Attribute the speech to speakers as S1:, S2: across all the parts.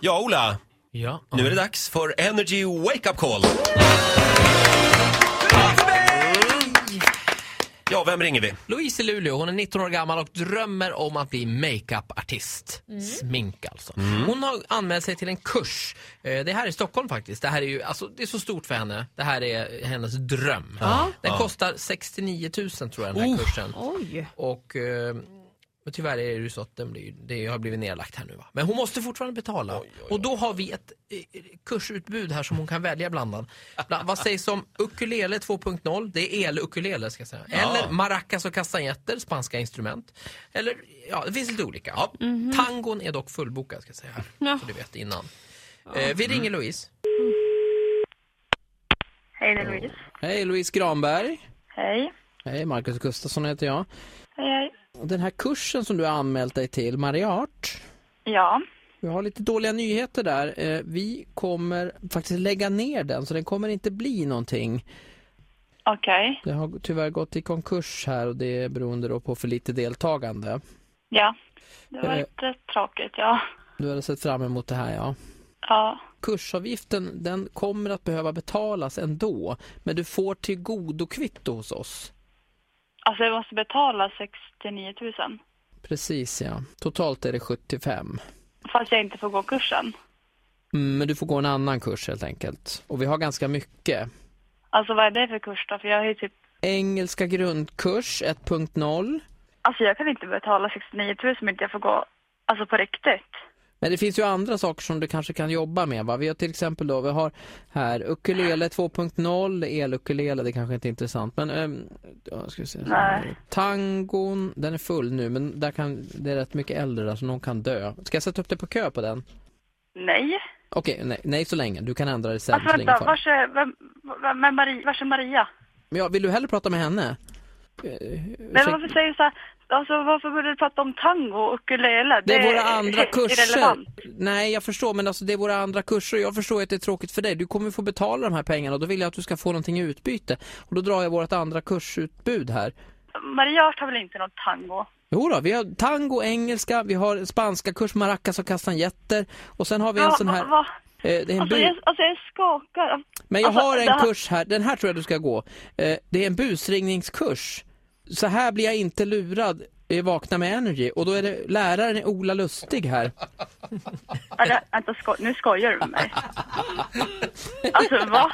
S1: Ja, Ola.
S2: Ja.
S1: Nu är det dags för Energy Wake Up Call. Ja, vem ringer vi?
S2: Louise i Luleå, hon är 19 år gammal och drömmer om att bli makeup-artist. Smink alltså.
S1: Mm.
S2: Hon har anmält sig till en kurs. Eh, Det här är i Stockholm faktiskt. Det här är ju, alltså det är så stort för henne. Det här är hennes dröm. Den kostar 69 000 tror jag den
S1: Oh.
S2: här kursen.
S3: Oj.
S2: Och, eh, men tyvärr är det ju så att den blir, det har blivit nedlagt här nu va. Men hon måste fortfarande betala. Och då har vi ett eh, kursutbud här som hon kan välja bland annat. Bland, vad sägs om ukulele 2.0? Det är el-ukulele ska jag säga. Eller maracas och castanjetter, spanska instrument. Eller, ja det finns lite olika. Ja. Tangon är dock fullbokad ska jag säga här.
S3: Ja.
S2: Så du vet innan. Eh, vi ringer Louise.
S4: Hej, det är Louise.
S2: Hej Louise Granberg.
S4: Hej.
S2: Hej, Marcus Gustafsson heter jag.
S4: Hej, hej.
S2: Den här kursen som du har anmält dig till, Mariart.
S4: Ja,
S2: Vi har lite dåliga nyheter där. Eh, Vi kommer faktiskt lägga ner den så den kommer inte bli någonting.
S4: okej.
S2: Det har tyvärr gått i konkurs här och det är beroende då på för lite deltagande.
S4: Ja, det var
S2: Eh.
S4: lite tråkigt, ja.
S2: Du hade sett fram emot det här ja.
S4: Ja,
S2: Kursavgiften den kommer att behöva betalas ändå men du får till godo kvitto hos oss.
S4: alltså jag måste betala 69 000.
S2: Precis ja. Totalt är det 75.
S4: Fast jag inte får gå kursen.
S2: Mm, Men du får gå en annan kurs helt enkelt. Och vi har ganska mycket.
S4: Alltså vad är det för kurs då? För jag har ju typ,
S2: Engelska grundkurs 1.0.
S4: alltså jag kan inte betala 69 000 om inte jag får gå, alltså på riktigt.
S2: Men det finns ju andra saker som du kanske kan jobba med. Va? Vi har till exempel då, vi har här ukulele 2.0, elukulele, det kanske inte är intressant. Men ehm, ja, ska vi se.
S4: Nej.
S2: tangon, den är full nu men där kan, det är rätt mycket äldre där så någon kan dö. Ska jag sätta upp dig på kö på den?
S4: Nej.
S2: Okej, nej, nej så länge. Du kan ändra dig sen.
S4: Alltså
S2: så länge
S4: vänta,
S2: kvar.
S4: vars är, vem, vem, vem Maria, vars är Maria?
S2: Men ja, vill du hellre prata med henne?
S4: Nej, men varför säger du så här, alltså varför började du prata om tango och ukulele?
S2: Det är våra andra kurser.
S4: irrelevant.
S2: Nej, jag förstår, men alltså, det är våra andra kurser. Jag förstår att det är tråkigt för dig. Du kommer få betala de här pengarna och då vill jag att du ska få någonting i utbyte. Och då drar jag vårt andra kursutbud här.
S4: Maria har väl inte någon tango?
S2: Jo då, vi har tango, engelska, vi har spanska kurs, maracas och castanjetter. Och sen har vi en
S4: Ja,
S2: sån här...
S4: va- va-
S2: Eh, det är en
S4: Alltså
S2: bu-
S4: jag, alltså jag skakar.
S2: Men jag
S4: alltså,
S2: har
S4: det
S2: en
S4: här-
S2: kurs här, den här tror jag du ska gå. Eh, det är en busringningskurs. Så här blir jag inte lurad i Vakna med Energy. Och då är det läraren är Ola Lustig här.
S4: Eller, vänta, sko nu skojar du med mig. Alltså va?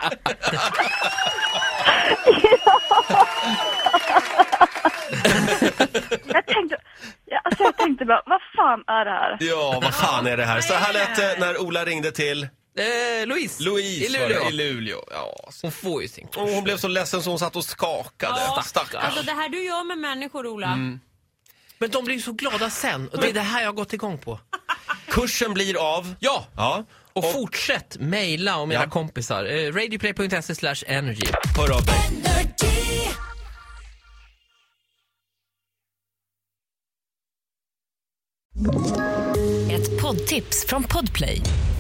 S4: jag tänkte, ja, alltså, jag tänkte bara, vad fan är det här?
S1: Ja, vad fan är det här? Så här lät det när Ola ringde till
S2: Eh, Louise,
S1: Louise
S2: i
S1: var det,
S2: Luleå.
S1: i Luleå. Ja,
S2: Hon får ju sin
S1: och hon blev så ledsen så hon satt och skakade. Stackars.
S3: Alltså det här du gör med människor, Ola.
S2: Men de blir ju så glada sen. Och det är det här jag har gått igång på.
S1: Kursen blir av.
S2: Ja!
S1: Ja,
S2: Och, fortsätt mejla om era
S1: Ja.
S2: kompisar. Eh, radioplay.se slash energy.
S1: hör av dig.
S5: Ett poddtips från Podplay.